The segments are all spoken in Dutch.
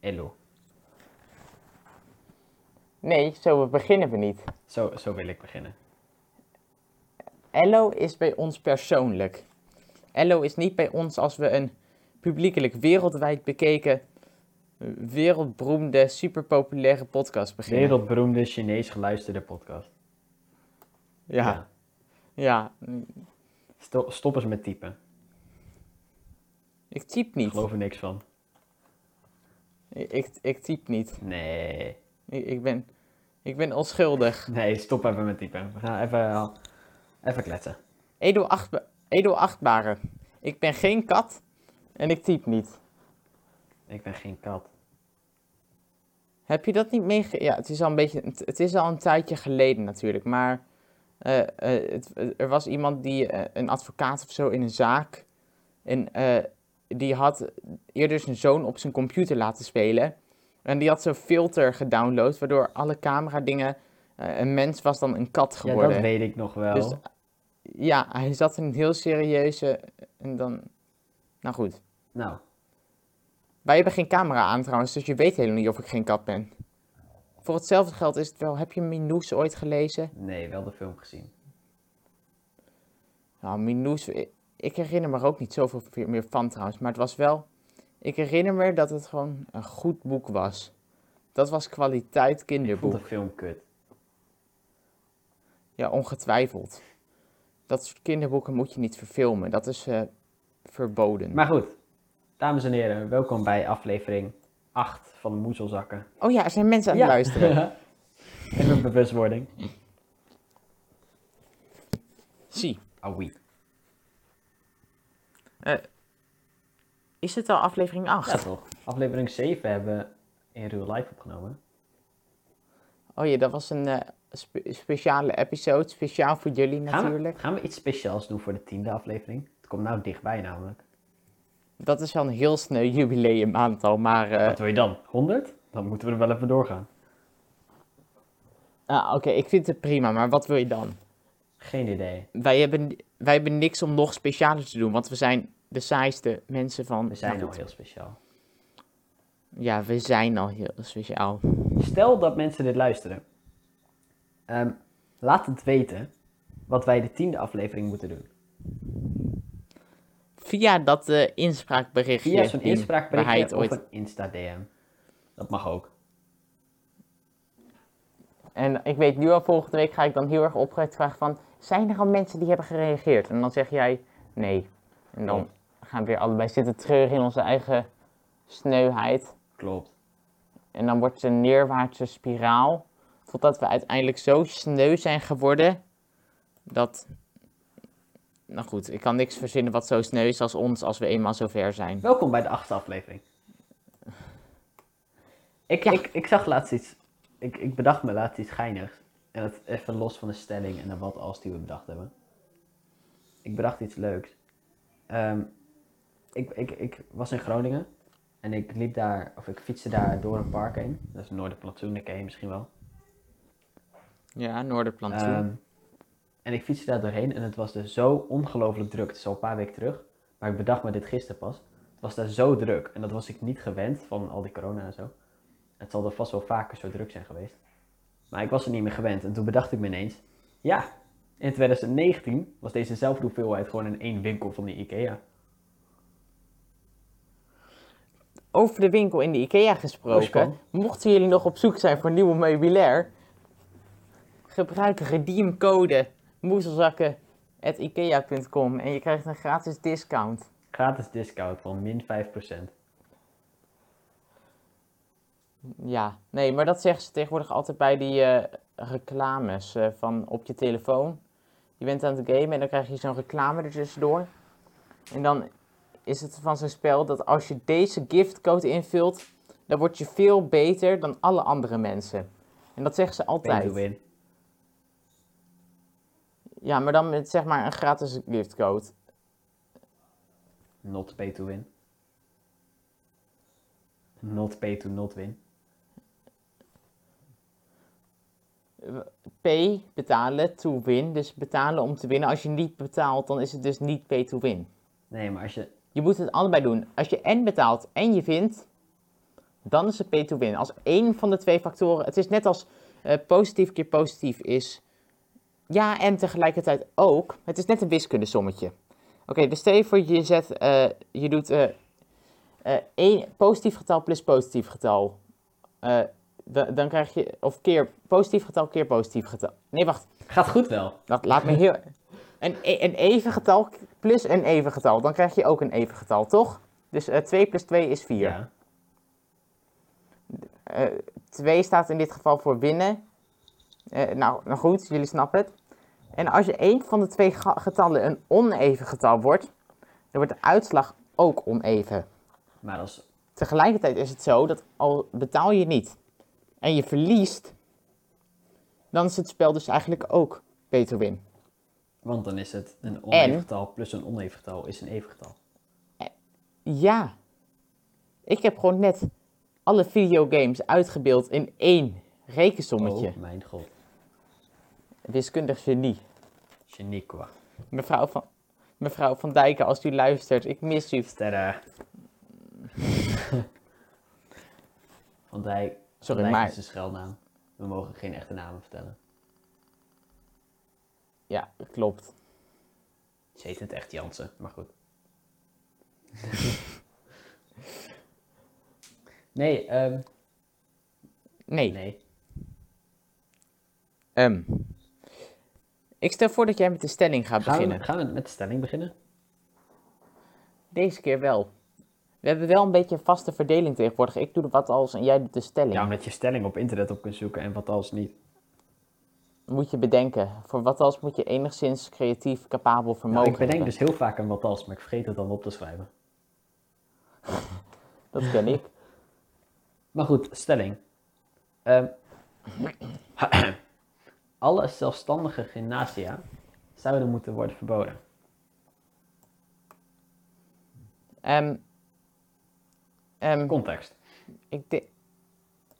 Elo. Nee, zo beginnen we niet. Zo, zo wil ik beginnen. Ello is bij ons persoonlijk. Ello is niet bij ons als we een publiekelijk wereldwijd bekeken, wereldberoemde, superpopulaire podcast beginnen. Wereldberoemde Chinees geluisterde podcast. Ja, ja. Sto- stop eens met typen. Ik typ Ik niet. geloof er niks van. Ik, ik, ik typ niet. Nee. Ik, ik, ben, ik ben onschuldig. Nee, stop even met typen. We gaan even, eh, even kletsen. Edel, achtba edel achtbare. Ik ben geen kat en ik typ niet. Ik ben geen kat. Heb je dat niet meege... Ja, het is al een beetje... Het, het is al een tijdje geleden natuurlijk, maar... eh, eh, het, er was iemand die, eh, een advocaat of zo, in een zaak... En eh, die had eerder zijn zoon op zijn computer laten spelen. En die had zo'n filter gedownload, waardoor alle cameradingen... eh, een mens was dan een kat Ja, geworden. dat weet ik nog wel. Dus- Ja, hij zat in een heel serieuze... En dan... Nou goed. Nou, Wij hebben geen camera aan trouwens, dus je weet helemaal niet of ik geen kat ben. Voor hetzelfde geld is het wel, heb je Minoes ooit gelezen? nee, wel de film gezien. Nou, Minoes, i- ik herinner me er ook niet zoveel ve- meer van trouwens, maar het was wel... Ik herinner me dat het gewoon een goed boek was. Dat was kwaliteit Ik vond de kinderboek. film kut. Ja, ongetwijfeld. Dat soort kinderboeken moet je niet verfilmen, dat is eh, verboden. Maar goed, dames en heren, welkom bij aflevering 8 van Moezelzakken. Oh ja, er zijn mensen aan het luisteren. Even een bewustwording. Zie, Aui. is het al aflevering 8? Ja toch. Aflevering 7 hebben we in real life opgenomen. Oh ja, dat was een eh, spe- speciale episode, speciaal voor jullie Gaan we, natuurlijk. gaan we iets speciaals doen voor de tiende aflevering? Het komt nou dichtbij namelijk. Dat is wel een heel sneu jubileumaantal, maar eh, Wat wil je dan? 100? Dan moeten we er wel even doorgaan. ah, oké, ik vind het prima, maar wat wil je dan? Geen idee. Wij hebben, wij hebben niks om nog specialer te doen, want we zijn de saaiste mensen van... We zijn Nou al goed. heel speciaal. Ja, we zijn al heel speciaal. Stel dat mensen dit luisteren. Ehm, laat het weten wat wij de tiende aflevering moeten doen. Via dat eh, inspraakberichtje. Via zo'n ding, inspraakberichtje waar hij het of ooit... een Insta-DM. Dat mag ook. En ik weet nu al, volgende week ga ik dan heel erg opgeruimd vragen van... Zijn er al mensen die hebben gereageerd? En dan zeg jij nee. En dan Klopt. gaan we weer allebei zitten treuren in onze eigen sneuheid. Klopt. En dan wordt het een neerwaartse spiraal. Totdat we uiteindelijk zo sneu zijn geworden dat. Nou goed, ik kan niks verzinnen wat zo sneu is als ons als we eenmaal zo ver zijn. Welkom bij de achtste aflevering. Ik, Ja. ik, ik zag laatst iets. Ik, ik bedacht me laatst iets geinigs. En dat even los van de stelling en de wat als die we bedacht hebben. Ik bedacht iets leuks. Ehm, ik, ik, ik was in Groningen. En ik liep daar, of ik fietste daar door een park heen. Dat is Noorderplantsoen, dat ken je misschien wel. Ja, Noorderplantsoen. Ehm, en ik fietste daar doorheen en het was dus zo ongelooflijk druk. Het is al een paar weken terug, maar ik bedacht me dit gisteren pas. Het was daar zo druk en dat was ik niet gewend van al die corona en zo. Het zal er vast wel vaker zo druk zijn geweest. Maar ik was er niet meer gewend en toen bedacht ik me ineens, ja, in 2019 was dezezelfde hoeveelheid gewoon in één winkel van de IKEA. Over de winkel in de IKEA gesproken. Oscar. Mochten jullie nog op zoek zijn voor nieuw meubilair, gebruik redeemcode moezelzakken.ikea.com en je krijgt een gratis discount. Gratis discount van min 5%. Ja, nee, maar dat zeggen ze tegenwoordig altijd bij die eh, reclames eh, van op je telefoon. Je bent aan het gamen en dan krijg je zo'n reclame er tussendoor. En dan is het van zo'n spel dat als je deze giftcode invult, dan word je veel beter dan alle andere mensen. En dat zeggen ze Pay to altijd. win. Ja, maar dan met zeg maar een gratis giftcode. Not pay to win. Not pay to not win. P betalen, to win. Dus betalen om te winnen. Als je niet betaalt, dan is het dus niet pay to win. Nee, maar als je Je moet het allebei doen. Als je en betaalt en je vindt, dan is het pay to win. Als één van de twee factoren, het is net als eh, positief keer positief is ja en tegelijkertijd ook. Het is net een wiskundesommetje. Oké, dus stel je voor je zet, eh, je doet eh eh, één positief getal plus positief getal. Eh, da- dan krijg je, of keer positief getal keer positief getal. Nee, wacht. Gaat goed wel. Dat laat me heel. Een, e- een even getal plus een even getal. Dan krijg je ook een even getal, toch? Dus eh 2 plus 2 is 4. Ja. 2 staat in dit geval voor winnen. Eh, nou, nou goed, jullie snappen het. En als je één van de twee ga- getallen een oneven getal wordt, dan wordt de uitslag ook oneven. Maar als, Tegelijkertijd is het zo dat al betaal je niet en je verliest, dan is het spel dus eigenlijk ook beter win. want dan is het een oneven En? getal plus een oneven getal is een even getal. Ja. Ik heb gewoon net alle videogames uitgebeeld in één rekensommetje. Oh mijn god. Wiskundig genie. Geniqua. Mevrouw van, mevrouw van Dijken, als u luistert, ik mis u. Sterren. Van Dijk. Sorry, Van Dijk maar- is een schelnaam. We mogen geen echte namen vertellen. Ja, klopt. Ze heet in het echt Jansen, maar goed. nee, ehm, Nee. nee. Ehm. ik stel voor dat jij met de stelling gaat Gaan beginnen. we, gaan we met de stelling beginnen? Deze keer wel. We hebben wel een beetje een vaste verdeling tegenwoordig. Ik doe de wat als en jij doet de stelling. Ja, omdat je stelling op internet op kunt zoeken en wat als niet. Moet je bedenken. Voor wat als moet je enigszins creatief, capabel, Nou, vermogen ik bedenk hebben. dus heel vaak een wat als, maar ik vergeet het dan op te schrijven. Dat ken ik. Maar goed, stelling. Ehm, alle zelfstandige gymnasia zouden moeten worden verboden. Ehm, ehm, Context. ik de-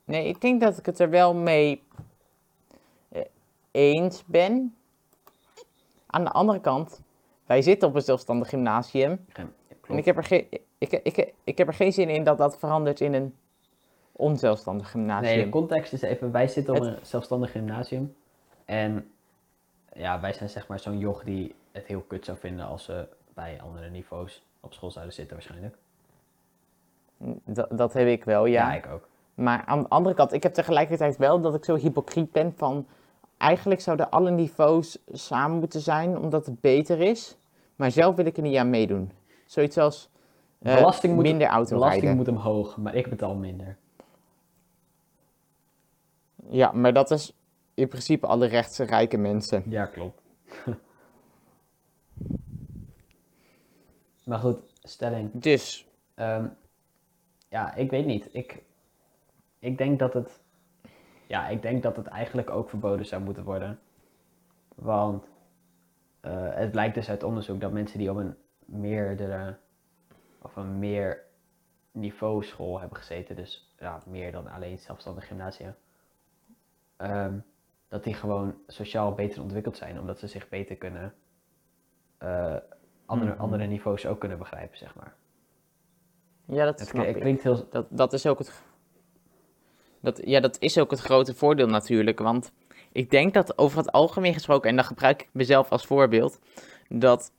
Nee, ik denk dat ik het er wel mee eh, eens ben. Aan de andere kant, wij zitten op een zelfstandig gymnasium. Gem- En Klopt. ik heb, er geen, ik, ik, ik heb er geen zin in dat dat verandert in een onzelfstandig gymnasium. Nee, de context is even, wij zitten op Het- een zelfstandig gymnasium. En ja, wij zijn zeg maar zo'n joch die het heel kut zou vinden als ze bij andere niveaus op school zouden zitten waarschijnlijk. Dat- dat heb ik wel, ja. ik ook. Maar aan de andere kant, ik heb tegelijkertijd wel dat ik zo hypocriet ben van... Eigenlijk zouden alle niveaus samen moeten zijn, omdat het beter is. Maar zelf wil ik er niet aan meedoen. Zoiets als eh, Belasting moet- minder auto Belasting rijden. moet omhoog, maar ik betaal minder. Ja, maar dat is in principe alle rechtse rijke mensen. Ja, klopt. maar goed, stelling. Dus, Ehm, ja, ik weet niet. Ik, ik denk dat het. Ja, ik denk dat het eigenlijk ook verboden zou moeten worden. Want eh, het blijkt dus uit onderzoek dat mensen die op een meerdere of een meer niveau school hebben gezeten, dus ja, meer dan alleen zelfstandig gymnasia, ehm, dat die gewoon sociaal beter ontwikkeld zijn, omdat ze zich beter kunnen eh, andere, Mhm. andere niveaus ook kunnen begrijpen, zeg maar. ja, dat Het snap klinkt- ik. klinkt heel, Dat, dat is ook het. Dat, ja, dat is ook het grote voordeel natuurlijk. Want ik denk dat over het algemeen gesproken, en dan gebruik ik mezelf als voorbeeld, dat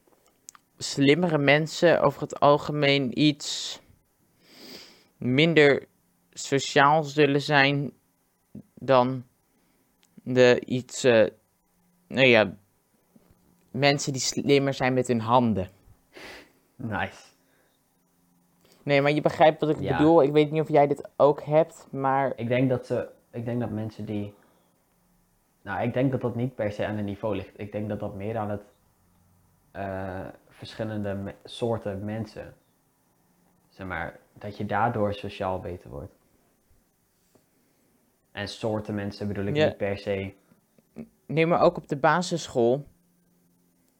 slimmere mensen over het algemeen iets minder sociaal zullen zijn dan de iets. eh, nou ja, mensen die slimmer zijn met hun handen. Nice. Nee, maar je begrijpt wat ik Ja. bedoel. Ik weet niet of jij dit ook hebt, maar Ik denk dat ze, ik denk dat mensen die, nou, ik denk dat dat niet per se aan het niveau ligt. Ik denk dat dat meer aan het eh, verschillende me- soorten mensen, zeg maar, dat je daardoor sociaal beter wordt. En soorten mensen bedoel ik Ja. niet per se. Nee, maar ook op de basisschool.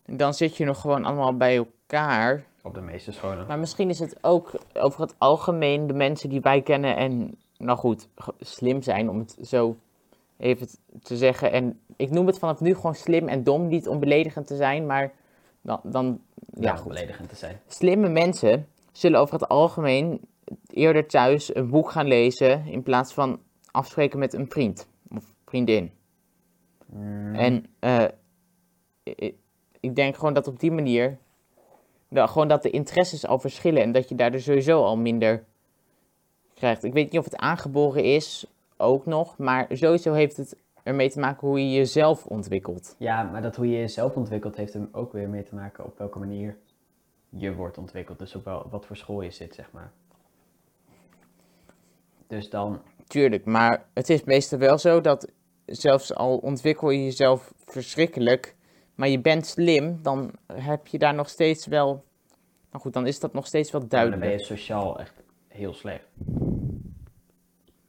Dan zit je nog gewoon allemaal bij elkaar. Op de meeste scholen. Maar misschien is het ook over het algemeen de mensen die wij kennen en, nou goed, ge- slim zijn, om het zo even t- te zeggen. En ik noem het vanaf nu gewoon slim en dom, niet om beledigend te zijn, maar dan, dan ja, ja, goed. beledigend te zijn. Slimme mensen zullen over het algemeen eerder thuis een boek gaan lezen in plaats van afspreken met een vriend of vriendin. Mm, En eh, ik, ik denk gewoon dat op die manier, nou, gewoon dat de interesses al verschillen en dat je daardoor sowieso al minder krijgt. Ik weet niet of het aangeboren is, ook nog, maar sowieso heeft het ermee te maken hoe je jezelf ontwikkelt. Ja, maar dat hoe je jezelf ontwikkelt heeft hem ook weer mee te maken op welke manier je wordt ontwikkeld. Dus op wel, wat voor school je zit, zeg maar. Dus dan, Tuurlijk, maar het is meestal wel zo dat zelfs al ontwikkel je jezelf verschrikkelijk, maar je bent slim, dan heb je daar nog steeds wel. Nou goed, dan is dat nog steeds wel dan duidelijk. ben je sociaal echt heel slecht.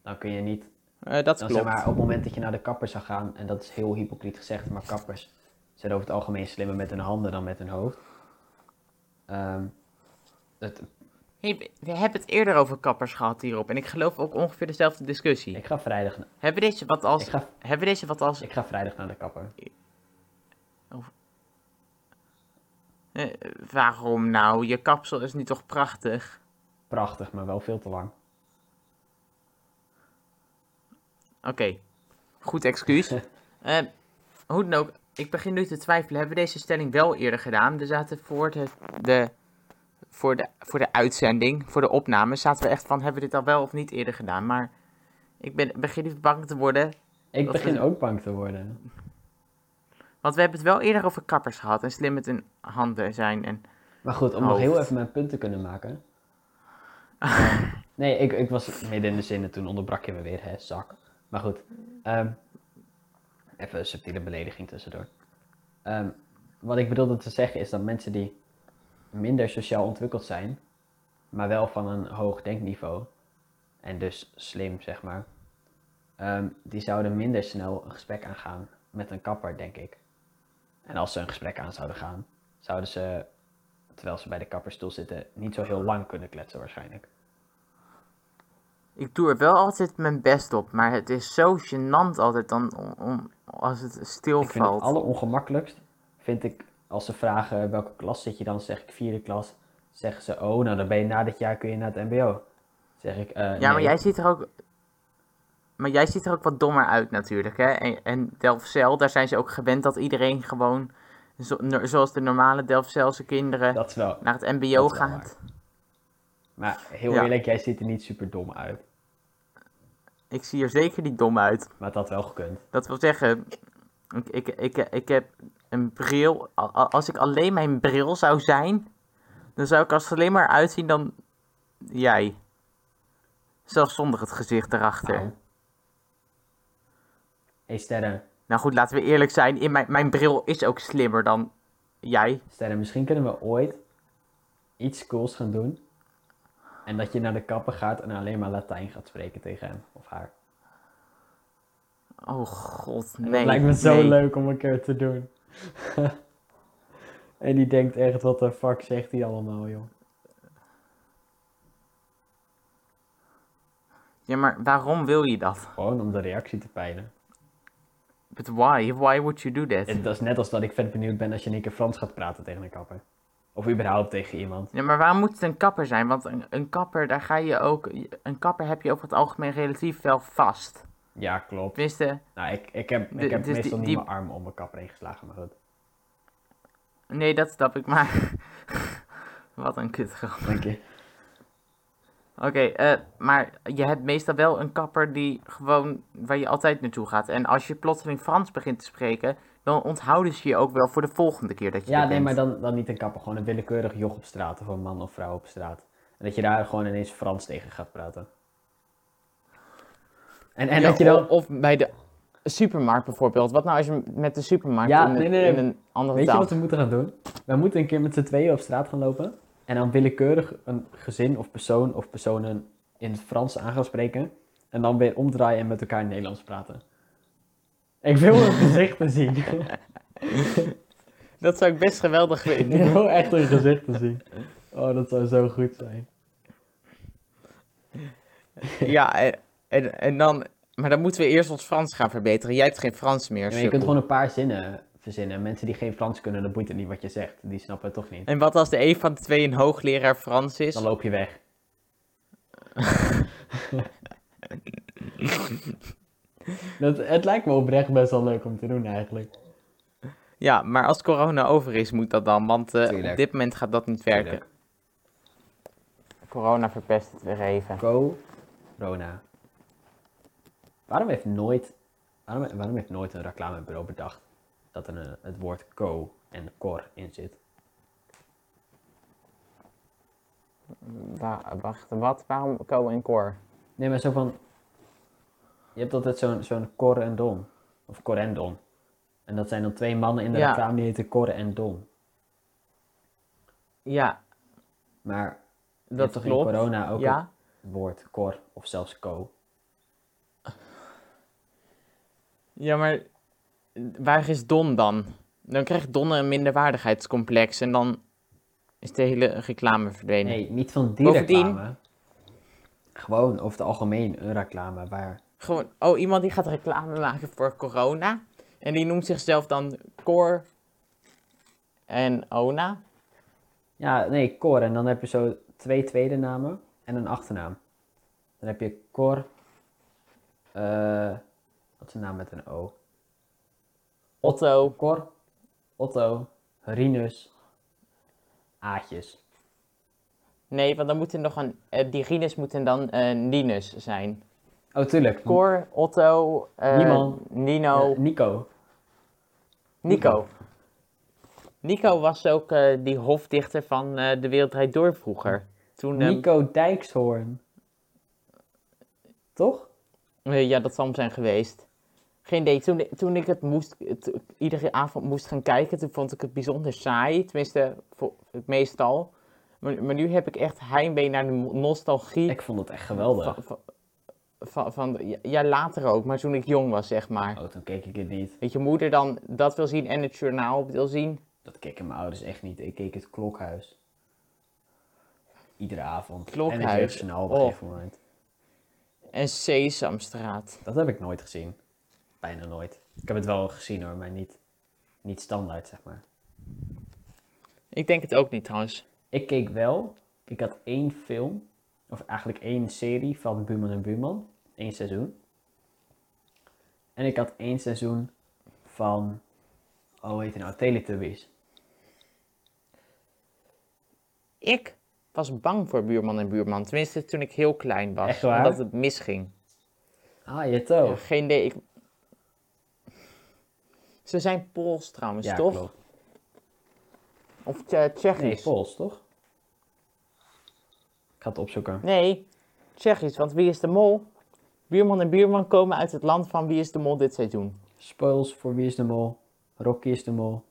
Dan kun je niet Eh, dat Dan klopt. Zeg maar, op het moment dat je naar de kapper zou gaan, en dat is heel hypocriet gezegd, maar kappers zijn over het algemeen slimmer met hun handen dan met hun hoofd. Ehm, het, Hey, we hebben het eerder over kappers gehad hierop. En ik geloof ook ongeveer dezelfde discussie. ik, ga vrijdag, na- Hebben we deze wat als... ik, ga, Hebben we deze wat als... ik ga vrijdag naar de kapper. eh, waarom nou? Je kapsel is nu toch prachtig? Prachtig, maar wel veel te lang. Oké. Goed excuus. Eh, hoe dan ook. Ik begin nu te twijfelen. Hebben we deze stelling wel eerder gedaan? We zaten voor de... de voor de, voor de uitzending, voor de opname, zaten we echt van: hebben we dit al wel of niet eerder gedaan? Maar ik ben, begin nu bang te worden Ik Dat begin is- ook bang te worden. Want we hebben het wel eerder over kappers gehad en slim met hun handen zijn. En... Maar goed, om nog Hoofd. heel even mijn punt te kunnen maken. Ehm, nee, ik, ik was midden in de zin en toen onderbrak je me weer, hè, zak. Maar goed, ehm, even een subtiele belediging tussendoor. Ehm, wat ik bedoelde te zeggen is dat mensen die minder sociaal ontwikkeld zijn, maar wel van een hoog denkniveau, en dus slim, zeg maar, ehm, die zouden minder snel een gesprek aangaan met een kapper, denk ik. En als ze een gesprek aan zouden gaan, zouden ze terwijl ze bij de kapperstoel zitten, niet zo heel lang kunnen kletsen waarschijnlijk. Ik doe er wel altijd mijn best op, maar het is zo gênant altijd dan om, om- als het Ik vind het stilvalt. allerongemakkelijkst, vind ik, als ze vragen welke klas zit je dan, zeg ik vierde klas. Zeggen ze, oh, nou dan ben je na dit jaar kun je naar het mbo. Zeg ik, eh, Ja, maar nee. jij ziet er ook. Maar jij ziet er ook wat dommer uit natuurlijk, hè? En, en Delfzijl, daar zijn ze ook gewend dat iedereen gewoon, zo- no- zoals de normale Delfzijlse kinderen, Dat is wel. naar het mbo dat is wel gaat. Maar heel Ja. eerlijk, jij ziet er niet super dom uit. Ik zie er zeker niet dom uit. Maar het had wel gekund. Dat wil zeggen, ik, ik, ik, ik heb een bril. a- a- Als ik alleen mijn bril zou zijn, dan zou ik als alleen maar uitzien dan jij. Zelfs zonder het gezicht erachter. Nou. Hey Sterren, Nou goed, laten we eerlijk zijn. In mijn, mijn bril is ook slimmer dan jij. Sterren, misschien kunnen we ooit iets cools gaan doen. En dat je naar de kapper gaat en alleen maar Latijn gaat spreken tegen hem of haar. Oh god, En nee. dat lijkt me zo nee. leuk om een keer te doen. en die denkt echt, wat de fuck zegt hij allemaal, joh. Ja, maar waarom wil je dat? Gewoon om de reactie te peilen. But why? Why would you do that? Het, dat is net als dat ik vet benieuwd ben als je in één keer Frans gaat praten tegen een kapper. Of überhaupt tegen iemand. Ja, maar waarom moet het een kapper zijn? Want een, een kapper, daar ga je ook... Een kapper heb je over het algemeen relatief wel vast. Ja, klopt. Tenminste, Nou, ik, ik heb, ik De- heb dus meestal die- niet die- mijn arm om mijn kapper heen geslagen, maar goed. Nee, dat snap ik, maar... Wat een kutgrap. Dank je. Oké, eh, maar je hebt meestal wel een kapper die gewoon... waar je altijd naartoe gaat. En als je plotseling Frans begint te spreken... dan onthouden ze je ook wel voor de volgende keer dat je Ja, er nee, maar bent. dan, dan niet een kapper. Gewoon een willekeurig joch op straat of een man of vrouw op straat. En dat je daar gewoon ineens Frans tegen gaat praten. En, en Ja, dat je dan... of, of bij de supermarkt bijvoorbeeld. Wat nou als je met de supermarkt Ja, in, een- nee, nee, nee. in een andere Weet je taal... wat we moeten gaan doen? We moeten een keer met z'n tweeën op straat gaan lopen. En dan willekeurig een gezin of persoon of personen in het Frans aan gaan spreken. En dan weer omdraaien en met elkaar in Nederlands praten. Ik wil hun gezichten zien. Dat zou ik best geweldig Ik wil echt hun gezichten zien. Oh, dat zou zo goed zijn. ja, en, en, en dan... Maar dan moeten we eerst ons Frans gaan verbeteren. Jij hebt geen Frans meer, je sukkel. kunt gewoon een paar zinnen verzinnen. Mensen die geen Frans kunnen, dat boeit het niet wat je zegt. Die snappen het toch niet. En wat als de een van de twee een hoogleraar Frans is? Dan loop je weg. Dat, het lijkt me oprecht best wel leuk om te doen eigenlijk. Ja, maar als corona over is, moet dat dan, want eh, Tuurlijk. op dit moment gaat dat niet werken. Corona verpest het weer even. Corona. Waarom heeft nooit, waarom, waarom heeft nooit een reclamebureau bedacht dat er een- eh, het woord co en cor in zit? Wa- wacht, wat? Waarom co en cor? Nee, maar zo van. Je hebt altijd zo'n zo'n Cor en Don. Of Cor en Don. En dat zijn dan twee mannen in de Ja. reclame die heten Cor en Don. Ja, Maar je dat hebt toch klopt. in corona ook ja. het woord Cor of zelfs Co. ja, maar waar is Don dan? Dan krijgt Don een minderwaardigheidscomplex en dan is de hele reclame verdwenen. Nee, niet van die Bovendien- reclame. Gewoon over het algemeen een reclame waar. Gewoon, oh, iemand die gaat reclame maken voor corona. En die noemt zichzelf dan Cor en Ona. Ja, nee, Cor. En dan heb je zo twee tweede namen en een achternaam. Dan heb je Cor. eh wat is een naam met een O? Otto. Cor, Otto, Rinus, Aatjes. Nee, want dan moeten nog een. eh, die Rinus moeten dan eh Ninus zijn. Oh, tuurlijk. Cor, Otto, eh, Niemand. Eh, Nino, Nico. Nico. Nico was ook eh, die hofdichter van eh, De Wereld Draait Door vroeger. Toen, eh, Nico Dijkshoorn. Toch? eh, ja, dat zal hem zijn geweest. Geen idee. Toen, toen ik het moest, het- iedere avond moest gaan kijken, toen vond ik het bijzonder saai. Tenminste, vo- meestal. Maar, maar nu heb ik echt heimwee naar de mo- nostalgie. Ik vond het echt geweldig. van, van, van, van- ja, ja, later ook, maar toen ik jong was, zeg maar. Oh, toen keek ik het niet. Dat je moeder dan dat wil zien en het journaal wil zien. Dat keken mijn ouders echt niet. Ik keek het Klokhuis. Iedere avond. En het Klokhuis. Jeugdjournaal op een Oh. gegeven moment. En Sesamstraat. Dat heb ik nooit gezien. Bijna nooit. Ik heb het wel gezien hoor, maar niet, niet standaard zeg maar. Ik denk het ook niet trouwens. Ik keek wel. Ik had één film, of eigenlijk één serie van Buurman en Buurman. Eén seizoen. En ik had één seizoen van, oh hoe heet het nou, Teletubbies. Ik was bang voor buurman en buurman. Tenminste, toen ik heel klein was. Echt waar? Omdat het misging. Ah, je toch? Ja, geen idee. Ik... Ze zijn Pools trouwens, toch? klopt. Of Tsje- Nee, Tsjechisch. Pools, toch? Ik ga het opzoeken. Nee, Tsjechisch. Want Wie is de Mol? Buurman en buurman komen uit het land van Wie is de Mol dit seizoen. Spoils voor Wie is de Mol. Rocky is de Mol.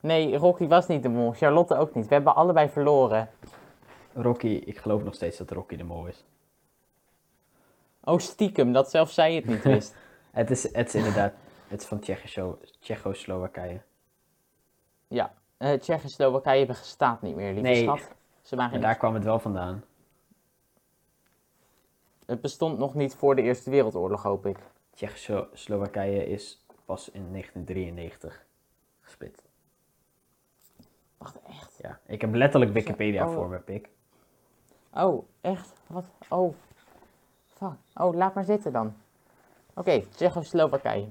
Nee, Rocky was niet de mol. Charlotte ook niet. We hebben allebei verloren. Rocky, ik geloof nog steeds dat Rocky de Mol is. Oh, stiekem, dat zelfs zij het niet wist. Het is, het is inderdaad, het is van Tsjecho- Tsjechoslowakije. ja, eh Tsjechoslowakije bestaat niet meer, lieve Nee. schat. Ze En waren daar kwam het wel vandaan. Het bestond nog niet voor de Eerste Wereldoorlog, hoop ik. Tsjechoslowakije is pas in 1993 gesplit. Wacht, echt? Ja, ik heb letterlijk Wikipedia Oh. voor me, pik. Oh, echt? Wat? Oh. Fuck. Oh, laat maar zitten dan. Oké, Tsjechoslowakije.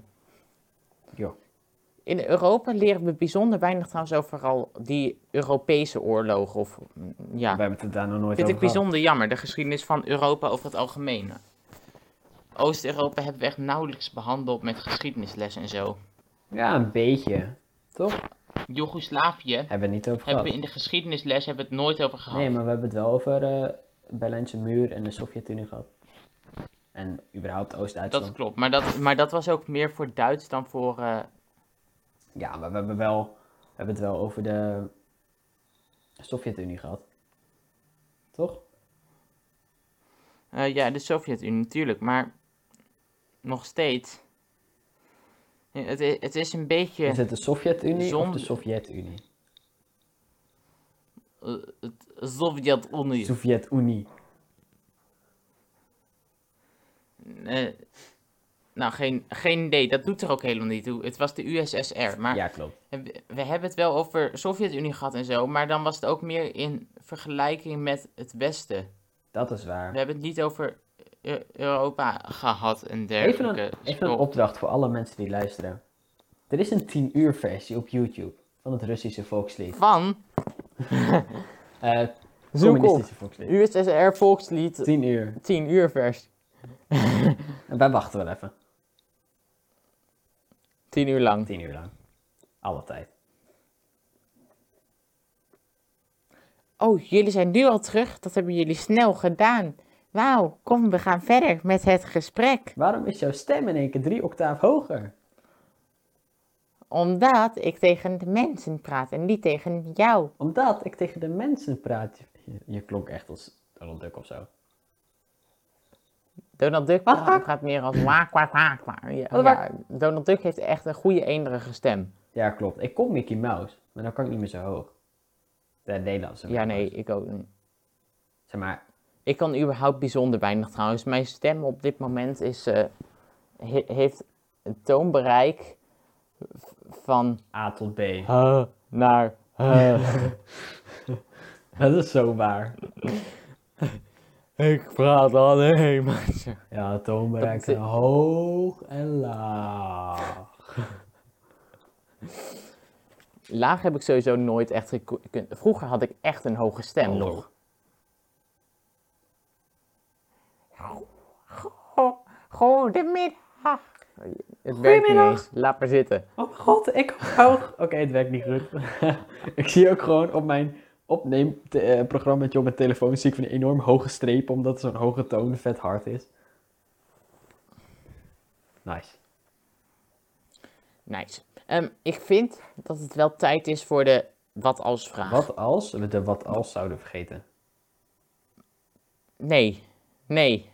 Jo. In Europa leren we bijzonder weinig trouwens over al die Europese oorlogen. Of, mm, ja. We hebben het daar nog nooit Vind ik over gehad. bijzonder jammer, de geschiedenis van Europa over het algemeen. Oost-Europa hebben we echt nauwelijks behandeld met geschiedenislessen en zo. Ja, een beetje. Toch? Joegoslavië Hebben we het niet over gehad. hebben we in de geschiedenisles hebben we het nooit over gehad. Oh. Nee, maar we hebben het wel over eh Berlijnse muur en de Sovjet-Unie gehad. En überhaupt Oost-Duitsland. dat klopt, maar dat, maar dat was ook meer voor Duits dan voor... eh, Ja, maar we hebben, wel, we hebben het wel over de Sovjet-Unie gehad. Toch? eh, ja, de Sovjet-Unie natuurlijk, maar nog steeds. Ja, Het is, het is een beetje... Is het de Sovjet-Unie of de Zonder- Sovjet-Unie? eh, het Sovjet-Unie. Sovjet-Unie. Eh, nou, geen, geen idee, dat doet er ook helemaal niet toe. Het was de USSR, maar... Ja, klopt. We we hebben het wel over Sovjet-Unie gehad en zo, maar dan was het ook meer in vergelijking met het Westen. Dat is waar. We hebben het niet over Eu- Europa gehad en Even dergelijke. een, even een spul. opdracht voor alle mensen die luisteren. Er is een 10 uur versie op YouTube van het Russische volkslied. Van Eh zoek op communistische volkslied. USSR volkslied 10 uur. 10 uur vers. En wij wachten wel even. 10 uur lang. 10 uur lang. Alle tijd. Oh, jullie zijn nu al terug. Dat hebben jullie snel gedaan. Wauw, kom, we gaan verder met het gesprek. Waarom is jouw stem in één keer drie octaaf hoger? Omdat ik tegen de mensen praat en niet tegen jou. Omdat ik tegen de mensen praat. Je, je klonk echt als Donald Duck of zo. Donald Duck Kwak, kwak. gaat meer als waak, kwaak, kwaak, kwaak. Ja, Wat, ja, Donald Duck heeft echt een goede eenderige stem. Ja, klopt. Ik kon Mickey Mouse, maar dan kan ik niet meer zo hoog. De Nederlandse. Ja, Mickey nee, Mouse. ik ook niet. Zeg maar, Ik kan überhaupt bijzonder weinig trouwens. Mijn stem op dit moment is, eh, he- heeft een toonbereik v- van A tot B. h naar eh, h. Dat is zo waar. ik praat alleen maar zo. Ja, toonbereik Dat is- zijn hoog en laag. Laag heb ik sowieso nooit echt gekund. Vroeger had ik echt een hoge stem Hallo. nog. Oh, Goedemiddag. Het werkt niet Goedemiddag. eens. Laat maar zitten. Oh mijn god, ik hoog. Oké, het werkt niet goed. ik zie ook gewoon op mijn eh, opneemprogramma op mijn telefoon zie ik een enorm hoge streep omdat zo'n hoge toon vet hard is. Nice. Nice. Ehm, ik vind dat het wel tijd is voor de wat als vraag. Wat als we de wat als zouden vergeten? Nee. Nee.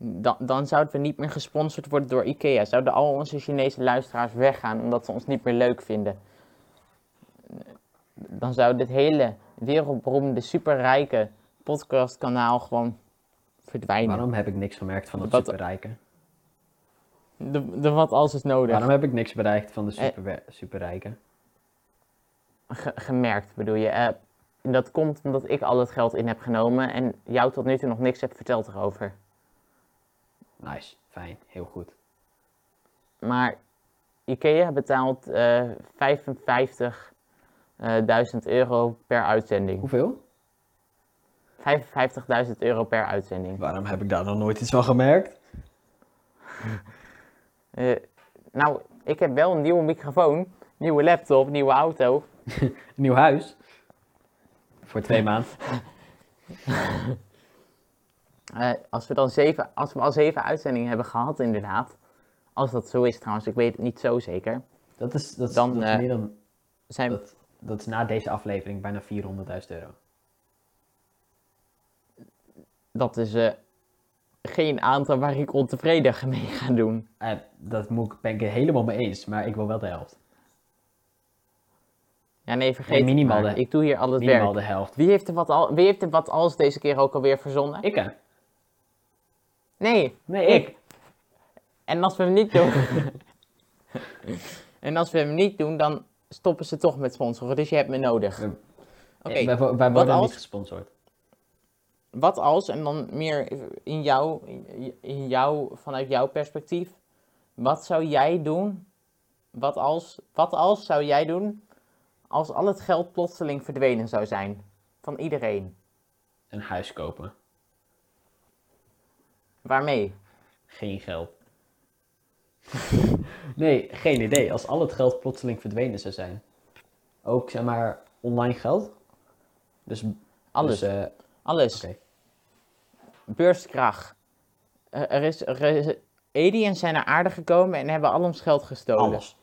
Dan, dan zouden we niet meer gesponsord worden door IKEA. Zouden al onze Chinese luisteraars weggaan omdat ze ons niet meer leuk vinden. Dan zou dit hele wereldberoemde, superrijke podcastkanaal gewoon verdwijnen. Waarom heb ik niks gemerkt van dat Wat- superrijke? De, de wat als is nodig. Waarom heb ik niks bereikt van de Eh. superwe- superrijke? Ge- gemerkt bedoel je. Eh, dat komt omdat ik al het geld in heb genomen en jou tot nu toe nog niks hebt verteld erover. Nice, fijn, heel goed. Maar IKEA betaalt eh 55.000 euro per uitzending. Hoeveel? 55.000 euro per uitzending. Waarom heb ik daar nog nooit iets van gemerkt? Eh, nou, ik heb wel een nieuwe microfoon, nieuwe laptop, nieuwe auto. Een nieuw huis? Voor twee maanden. Eh, als, we dan zeven, als we al zeven uitzendingen hebben gehad, inderdaad. Als dat zo is trouwens, ik weet het niet zo zeker. Dat is, dat is, Dan, dat is eh, meer dan Zijn Dat, dat is na deze aflevering bijna 400.000 euro. Dat is eh, geen aantal waar ik ontevreden mee ga doen. Eh, dat moet, ik- ben ik het helemaal mee eens, maar ik wil wel de helft. Ja, nee, vergeet Nee, het minimaal maar. de- Ik doe hier al het Minimaal werk. de helft. Wie heeft, er wat al, wie heeft er wat als deze keer ook alweer verzonnen? Ik hè? Nee. Nee, ik. En als we hem niet doen... en als we hem niet doen, dan stoppen ze toch met sponsoren. Dus je hebt me nodig. Ja. Oké, Eh, Wij, wo- wij worden als? niet gesponsord. wat als, en dan meer in jou, in jou, vanuit jouw perspectief. Wat zou jij doen? Wat als, wat als zou jij doen als al het geld plotseling verdwenen zou zijn? Van iedereen. Een huis kopen. Waarmee? Geen geld. nee, geen idee. Als al het geld plotseling verdwenen zou zijn. Ook zeg maar online geld. Dus Alles. Dus, eh, Alles. Oké. Beurskrach. Er, er is, er is- aliens zijn naar aarde gekomen en hebben al ons geld gestolen. alles.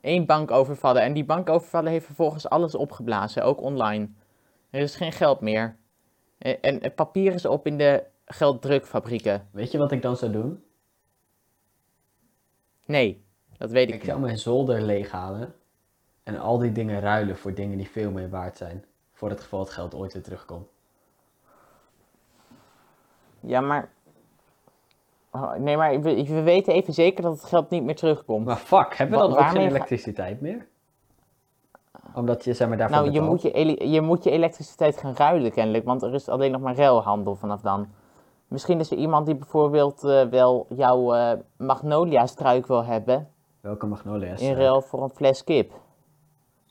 Eén bank overvallen. En die bank overvallen heeft vervolgens alles opgeblazen, ook online. Er is geen geld meer. En, en het papier is op in de gelddrukfabrieken. Weet je wat ik dan zou doen? Nee, dat weet ik Ik niet. zou mijn zolder leeghalen en al die dingen ruilen voor dingen die veel meer waard zijn. Voor het geval het geld ooit weer terugkomt. Ja, maar... Oh, nee, maar we, we weten even zeker dat het geld niet meer terugkomt. Maar fuck, hebben we Wa- dan ook waarmee geen ga- elektriciteit meer? Omdat je zeg maar daarvoor Nou, je betaalt. moet je, ele- je moet je elektriciteit gaan ruilen kennelijk, want er is alleen nog maar ruilhandel vanaf dan. Misschien is er iemand die bijvoorbeeld eh, wel jouw eh, magnolia-struik wil hebben Welke magnolia's? in eh, ruil voor een fles kip.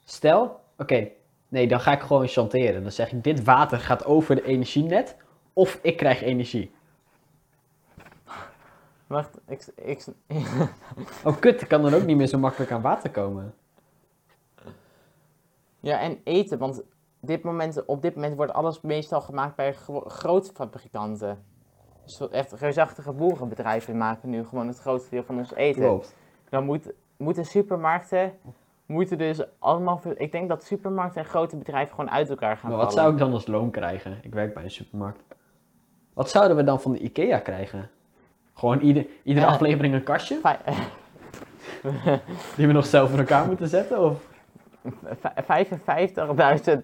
Stel, oké, nee, dan ga ik gewoon chanteren. Dan zeg ik, dit water gaat over de energienet of ik krijg energie. Wacht, ik, ik, Oh kut, ik kan dan ook niet meer zo makkelijk aan water komen. ja, en eten, want dit moment, op dit moment wordt alles meestal gemaakt bij gro- grote fabrikanten. Dus zo- echt reusachtige boerenbedrijven maken nu gewoon het grootste deel van ons eten. Klopt. Dan moet, moeten supermarkten moeten dus allemaal. ver- Ik denk dat supermarkten en grote bedrijven gewoon uit elkaar gaan Maar wat vallen. zou ik dan als loon krijgen? Ik werk bij een supermarkt. Wat zouden we dan van de IKEA krijgen? Gewoon ieder, iedere Ja. aflevering een kastje? Vij- Die we nog zelf voor elkaar moeten zetten? Of? vij- 55.000 eh,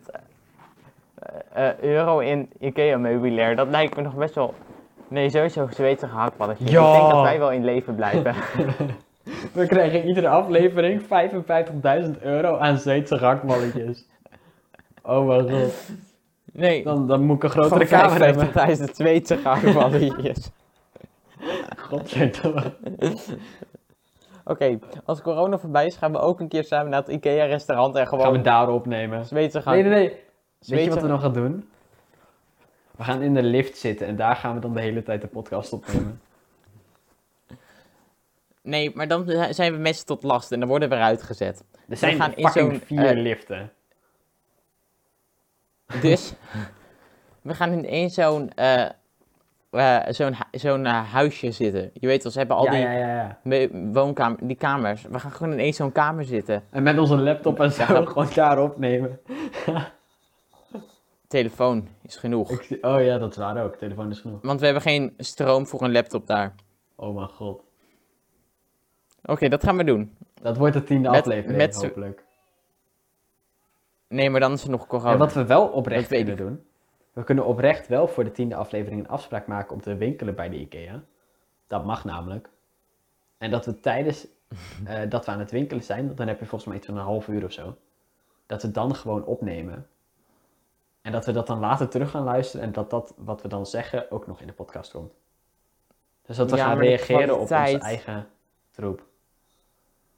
eh, euro in IKEA-meubilair. Dat lijkt me nog best wel. Nee, sowieso Zweedse gehaktballetje. Ja. Ik denk dat wij wel in leven blijven. We krijgen iedere aflevering 55.000 euro aan Zweedse rakballetjes. Oh mijn god. nee, Dan, dan moet ik een gewoon grotere kamer hebben. 55.000 Zweedse gehaktballetjes. Godverdomme. Oké, als corona voorbij is, gaan we ook een keer samen naar het IKEA-restaurant en Gaan we gewoon daar opnemen? Zweedse Nee, gehakt. nee, nee. Weet je Zweedse- wat we dan gaan doen? We gaan in de lift zitten en daar gaan we dan de hele tijd de podcast opnemen. Nee, maar dan zijn we mensen tot last en dan worden we eruit gezet. Er zijn gaan in fucking zo'n, vier eh, liften. Dus we gaan in één zo'n eh, eh, zo'n hu- zo'n, eh, huisje zitten. Je weet wel, ze hebben al ja, die ja, ja, ja. me- woonkamer, die kamers. We gaan gewoon in één zo'n kamer zitten. En met onze laptop en zo gaan- gewoon daar opnemen. Telefoon is genoeg. Ik zie- oh ja, dat is waar ook. Telefoon is genoeg. Want we hebben geen stroom voor een laptop daar. Oh mijn god. Oké, dat gaan we doen. Dat wordt de tiende Met- aflevering met z'n- hopelijk. Nee, maar dan is er nog corona. En wat we wel Oh, Dat oprecht weet kunnen doen. We kunnen oprecht wel voor de tiende aflevering een afspraak maken om te winkelen bij de IKEA. Dat mag namelijk. En dat we tijdens eh, dat we aan het winkelen zijn, want dan heb je volgens mij iets van een half uur of zo. Dat we dan gewoon opnemen. En dat we dat dan later terug gaan luisteren en dat dat wat we dan zeggen ook nog in de podcast komt. Dus dat we Ja, gaan maar de reageren op onze kwaliteit- eigen troep.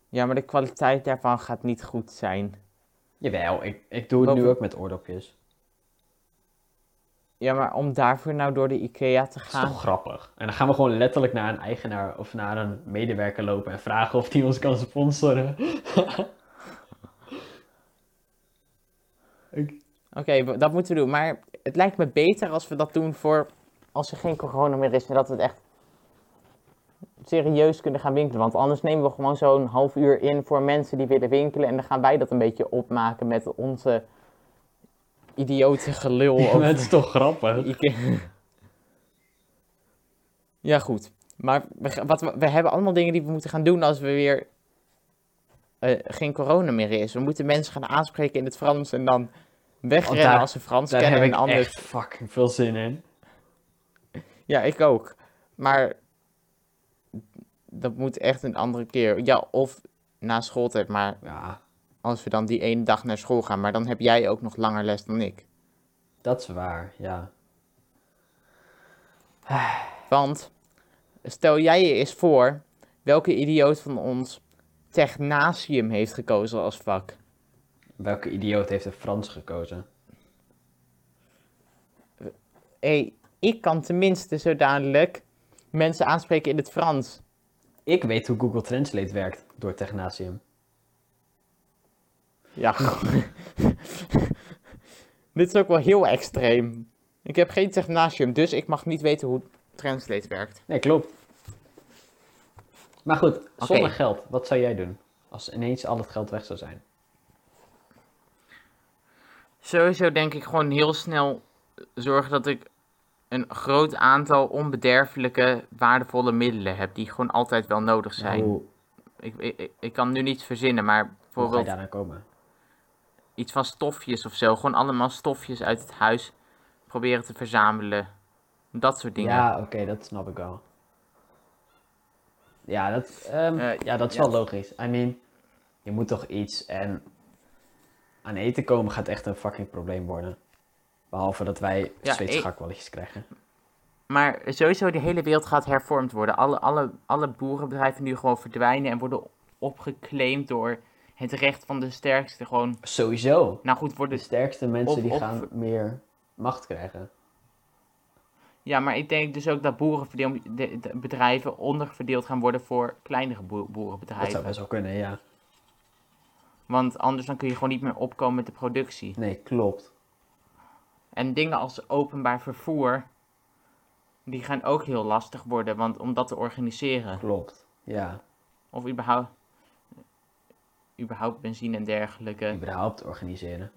Ja, maar de kwaliteit daarvan gaat niet goed zijn. Jawel, ik, ik doe het Boven- nu ook met oordopjes. Ja, maar om daarvoor nou door de IKEA te Dat is gaan. toch grappig? En dan gaan we gewoon letterlijk naar een eigenaar of naar een medewerker lopen en vragen of die ons kan sponsoren. Ik- Oké, we- dat moeten we doen. Maar het lijkt me beter als we dat doen voor als er geen corona meer is. En dat we het echt serieus kunnen gaan winkelen. Want anders nemen we gewoon zo'n half uur in voor mensen die willen winkelen. En dan gaan wij dat een beetje opmaken met onze idiote gelul Ja, maar over het is toch grappig? Ikea. eh, Ja, goed. Maar we, ga- wat, we we hebben allemaal dingen die we moeten gaan doen als we weer eh, geen corona meer is. We moeten mensen gaan aanspreken in het Frans en dan wegrennen daar- als ze Frans Daar kennen heb ik en anders. echt fucking veel zin in. Ja, ik ook. Maar dat moet echt een andere keer. Ja, of na schooltijd, maar Ja, als we dan die ene dag naar school gaan. Maar dan heb jij ook nog langer les dan ik. dat is waar, ja. Want stel jij je eens voor welke idioot van ons technasium heeft gekozen als vak. Welke idioot heeft er Frans gekozen? Hé, ik kan tenminste zo dadelijk mensen aanspreken in het Frans. Ik weet hoe Google Translate werkt door Technasium. Ja. Dit is ook wel heel extreem. Ik heb geen technasium, dus ik mag niet weten hoe Translate werkt. Nee, klopt. Maar goed, zonder geld, wat zou jij doen? Als ineens al het geld weg zou zijn. Sowieso denk ik gewoon heel snel zorgen dat ik een groot aantal onbederfelijke, waardevolle middelen heb. Die gewoon altijd wel nodig zijn. Nou, Hoe, Ik, ik, ik- ik kan nu niets verzinnen, maar hoe ga je bijvoorbeeld daaraan komen? iets van stofjes of zo. Gewoon allemaal stofjes uit het huis proberen te verzamelen. Dat soort dingen. Ja, oké, dat snap ik wel. Ja, dat, ehm, Eh, ja, dat is ja. wel logisch. I mean, je moet toch iets en... I aan eten komen gaat echt een fucking probleem worden. Behalve dat wij Ja, steeds ik- schakwalletjes krijgen. Maar sowieso, de hele wereld gaat hervormd worden. Alle, alle, alle boerenbedrijven nu gewoon verdwijnen en worden opgeclaimd door het recht van de sterkste. Gewoon, Sowieso. nou goed, De worden... sterkste mensen Of- die of- gaan meer macht krijgen. Ja, maar ik denk dus ook dat boerenverdeel- de- de bedrijven onderverdeeld gaan worden voor kleinere boer- Dat zou boerenbedrijven. best wel kunnen, ja. Want anders dan kun je gewoon niet meer opkomen met de productie. Nee, klopt. En dingen als openbaar vervoer, die gaan ook heel lastig worden, want om dat te organiseren. Klopt. Ja. Of überhaupt, überhaupt benzine en dergelijke. Überhaupt organiseren.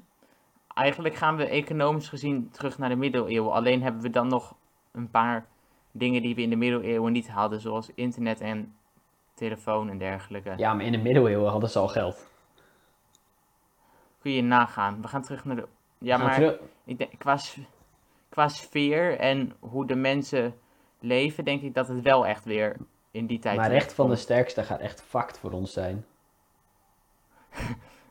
Eigenlijk gaan we economisch gezien terug naar de middeleeuwen. Alleen hebben we dan nog een paar dingen die we in de middeleeuwen niet hadden, zoals internet en telefoon en dergelijke. Ja, maar in de middeleeuwen hadden ze al geld. Kun je nagaan. We gaan terug naar de. Ja, Gaan maar terug- ik denk, qua, s- qua sfeer en hoe de mensen leven, denk ik dat het wel echt weer in die tijd. Maar recht van de terechtkomt. sterkste gaat echt fact voor ons zijn.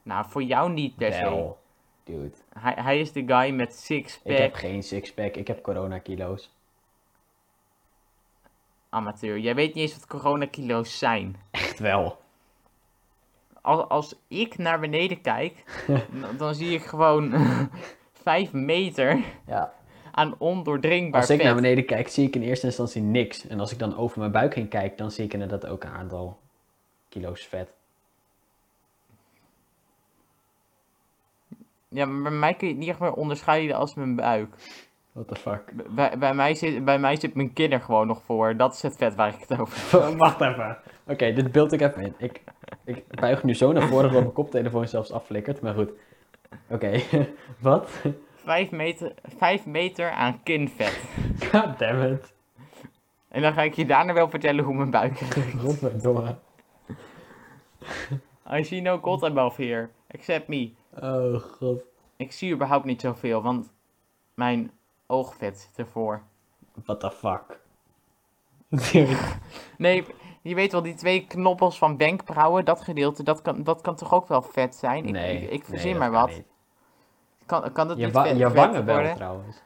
Nou, voor jou niet per se. Wel. Dude. Hij, hij is de guy met six-pack Ik heb geen sixpack. Ik heb coronakilo's. amateur. Jij weet niet eens wat coronakilo's zijn. Echt wel. als, als ik naar beneden kijk, dan- dan zie ik gewoon vijf meter Ja. aan ondoordringbaar Als ik vet. naar beneden kijk, zie ik in eerste instantie niks. En als ik dan over mijn buik heen kijk, dan zie ik inderdaad ook een aantal kilo's vet. Ja, maar bij mij kun je het niet echt meer onderscheiden als mijn buik. What the fuck? B- Bij, bij, mij zit, bij mij zit mijn kin er gewoon nog voor. Dat is het vet waar ik het over heb. Wacht even. Oké, dit beeld ik even in. Ik, ik buig nu zo naar voren dat mijn koptelefoon zelfs afflikkert. Maar goed. Oké. Wat? Vijf meter, vijf meter aan kinvet. God damn it. En dan ga ik je daarna wel vertellen hoe mijn buik eruit. Godverdomme. I see no god above here, except me. Oh god. Ik zie überhaupt niet zoveel, want mijn oogvet zit ervoor. What the fuck? Dude. Nee, je weet wel, die twee knoppels van wenkbrauwen, dat gedeelte, dat kan, dat kan toch ook wel vet zijn? Ik, Nee. ik, nee, ik verzin dat maar kan wat. niet. Kan, kan dat Je, niet wa- vet, je vet wangen wel worden? trouwens.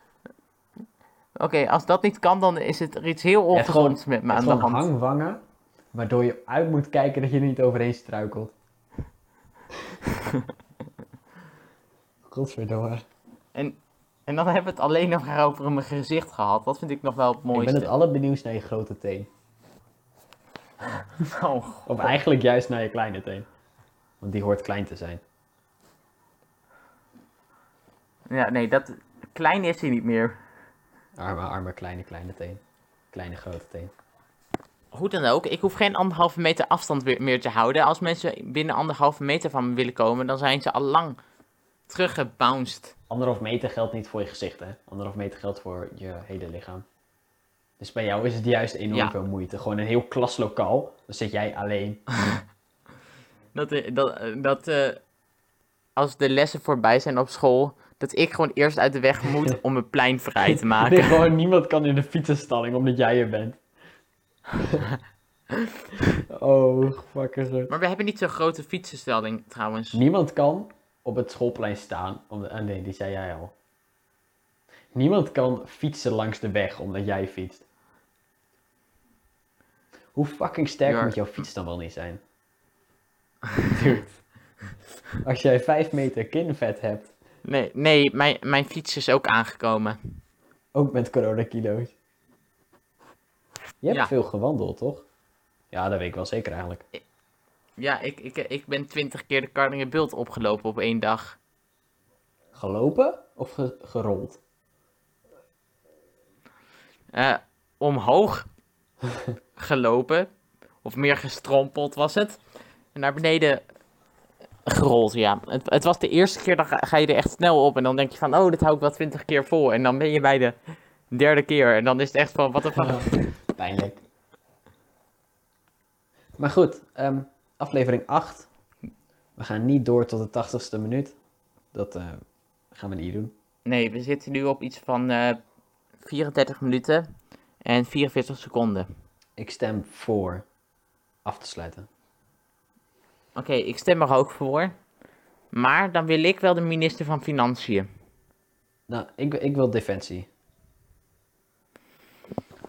Oké, als dat niet kan, dan is het er iets heel Je hebt gewoon- ongezonds met me Het aan is de gewoon hand. hangwangen, waardoor je uit moet kijken dat je er niet overheen struikelt. Godverdomme. En dan hebben we het alleen nog maar over mijn gezicht gehad. Dat vind ik nog wel het Ik mooiste. ben het allerbenieuwd naar je grote teen. Oh, Of eigenlijk juist naar je kleine teen. Want die hoort klein te zijn. ja, nee, dat... Klein is hij niet meer. Arme, arme, kleine, kleine teen. Kleine, grote teen. Hoe dan ook, ik hoef geen anderhalve meter afstand weer- meer te houden. Als mensen binnen anderhalve meter van me willen komen, dan zijn ze al lang teruggebounced. Anderhalf meter geldt niet voor je gezicht, hè? Anderhalf meter geldt voor je hele lichaam. Dus bij jou is het juist enorm Ja. veel moeite. Gewoon een heel klaslokaal. Dan zit jij alleen. Dat, eh, dat, eh, dat eh, als de lessen voorbij zijn op school, dat ik gewoon eerst uit de weg moet om mijn plein vrij te Nee, maken. gewoon niemand kan in de fietsenstalling omdat jij er bent. oh, fucking goed. Maar we hebben niet zo'n grote fietsenstelling trouwens. Niemand kan op het schoolplein staan. Omdat, ah nee, die zei jij al. Niemand kan fietsen langs de weg omdat jij fietst. Hoe fucking sterk Ja. moet jouw fiets dan wel niet zijn? Dude. Als jij 5 meter kinvet hebt, Nee, nee mijn, mijn fiets is ook aangekomen. ook met coronakilo's. Je hebt Ja. veel gewandeld, toch? Ja, dat weet ik wel zeker eigenlijk. Ja, ik, ik, ik ben twintig keer de Kardingenbult opgelopen op één dag. Gelopen of ge- gerold? Eh, omhoog gelopen, of meer gestrompeld was het. En naar beneden gerold, ja. Het, het was de eerste keer, dan ga, ga je er echt snel op. En dan denk je van, oh, dit hou ik wel twintig keer vol. En dan ben je bij de derde keer. En dan is het echt van, wat de fuck. Pijnlijk. Maar goed, ehm, aflevering 8. We gaan niet door tot de 80ste minuut. Dat eh, gaan we niet doen. Nee, we zitten nu op iets van eh 34 minuten en 44 seconden. Ik stem voor af te sluiten. Oké, ik stem er ook voor. Maar dan wil ik wel de minister van Financiën. Nou, ik, ik wil defensie.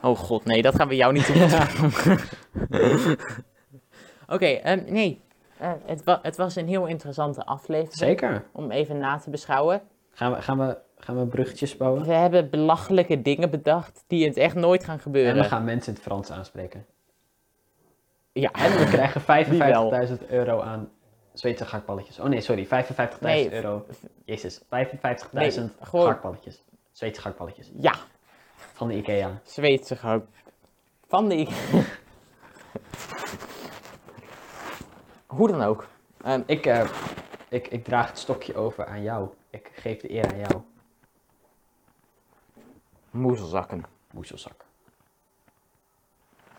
Oh god, nee, dat gaan we jou niet doen. Oké, ehm, nee. Eh, het, wa- het was een heel interessante aflevering Zeker. om even na te beschouwen. Gaan we, gaan we, gaan we bruggetjes bouwen? We hebben belachelijke dingen bedacht die in het echt nooit gaan En gebeuren. we gaan mensen in het Frans aanspreken. Ja, En we krijgen wel. 55.000 euro aan Zweedse gakballetjes. Oh nee, sorry, 55.000 Nee, euro. Jezus, 55.000 Nee, gewoon- gakballetjes. Zweedse gakballetjes. ja, Van de Ikea. Zweedse gehakt. Van de ik- Hoe dan ook. Ehm, Ik, eh, ik, ik draag het stokje over aan jou. Ik geef de eer aan jou. moezelzakken. Moezelzak.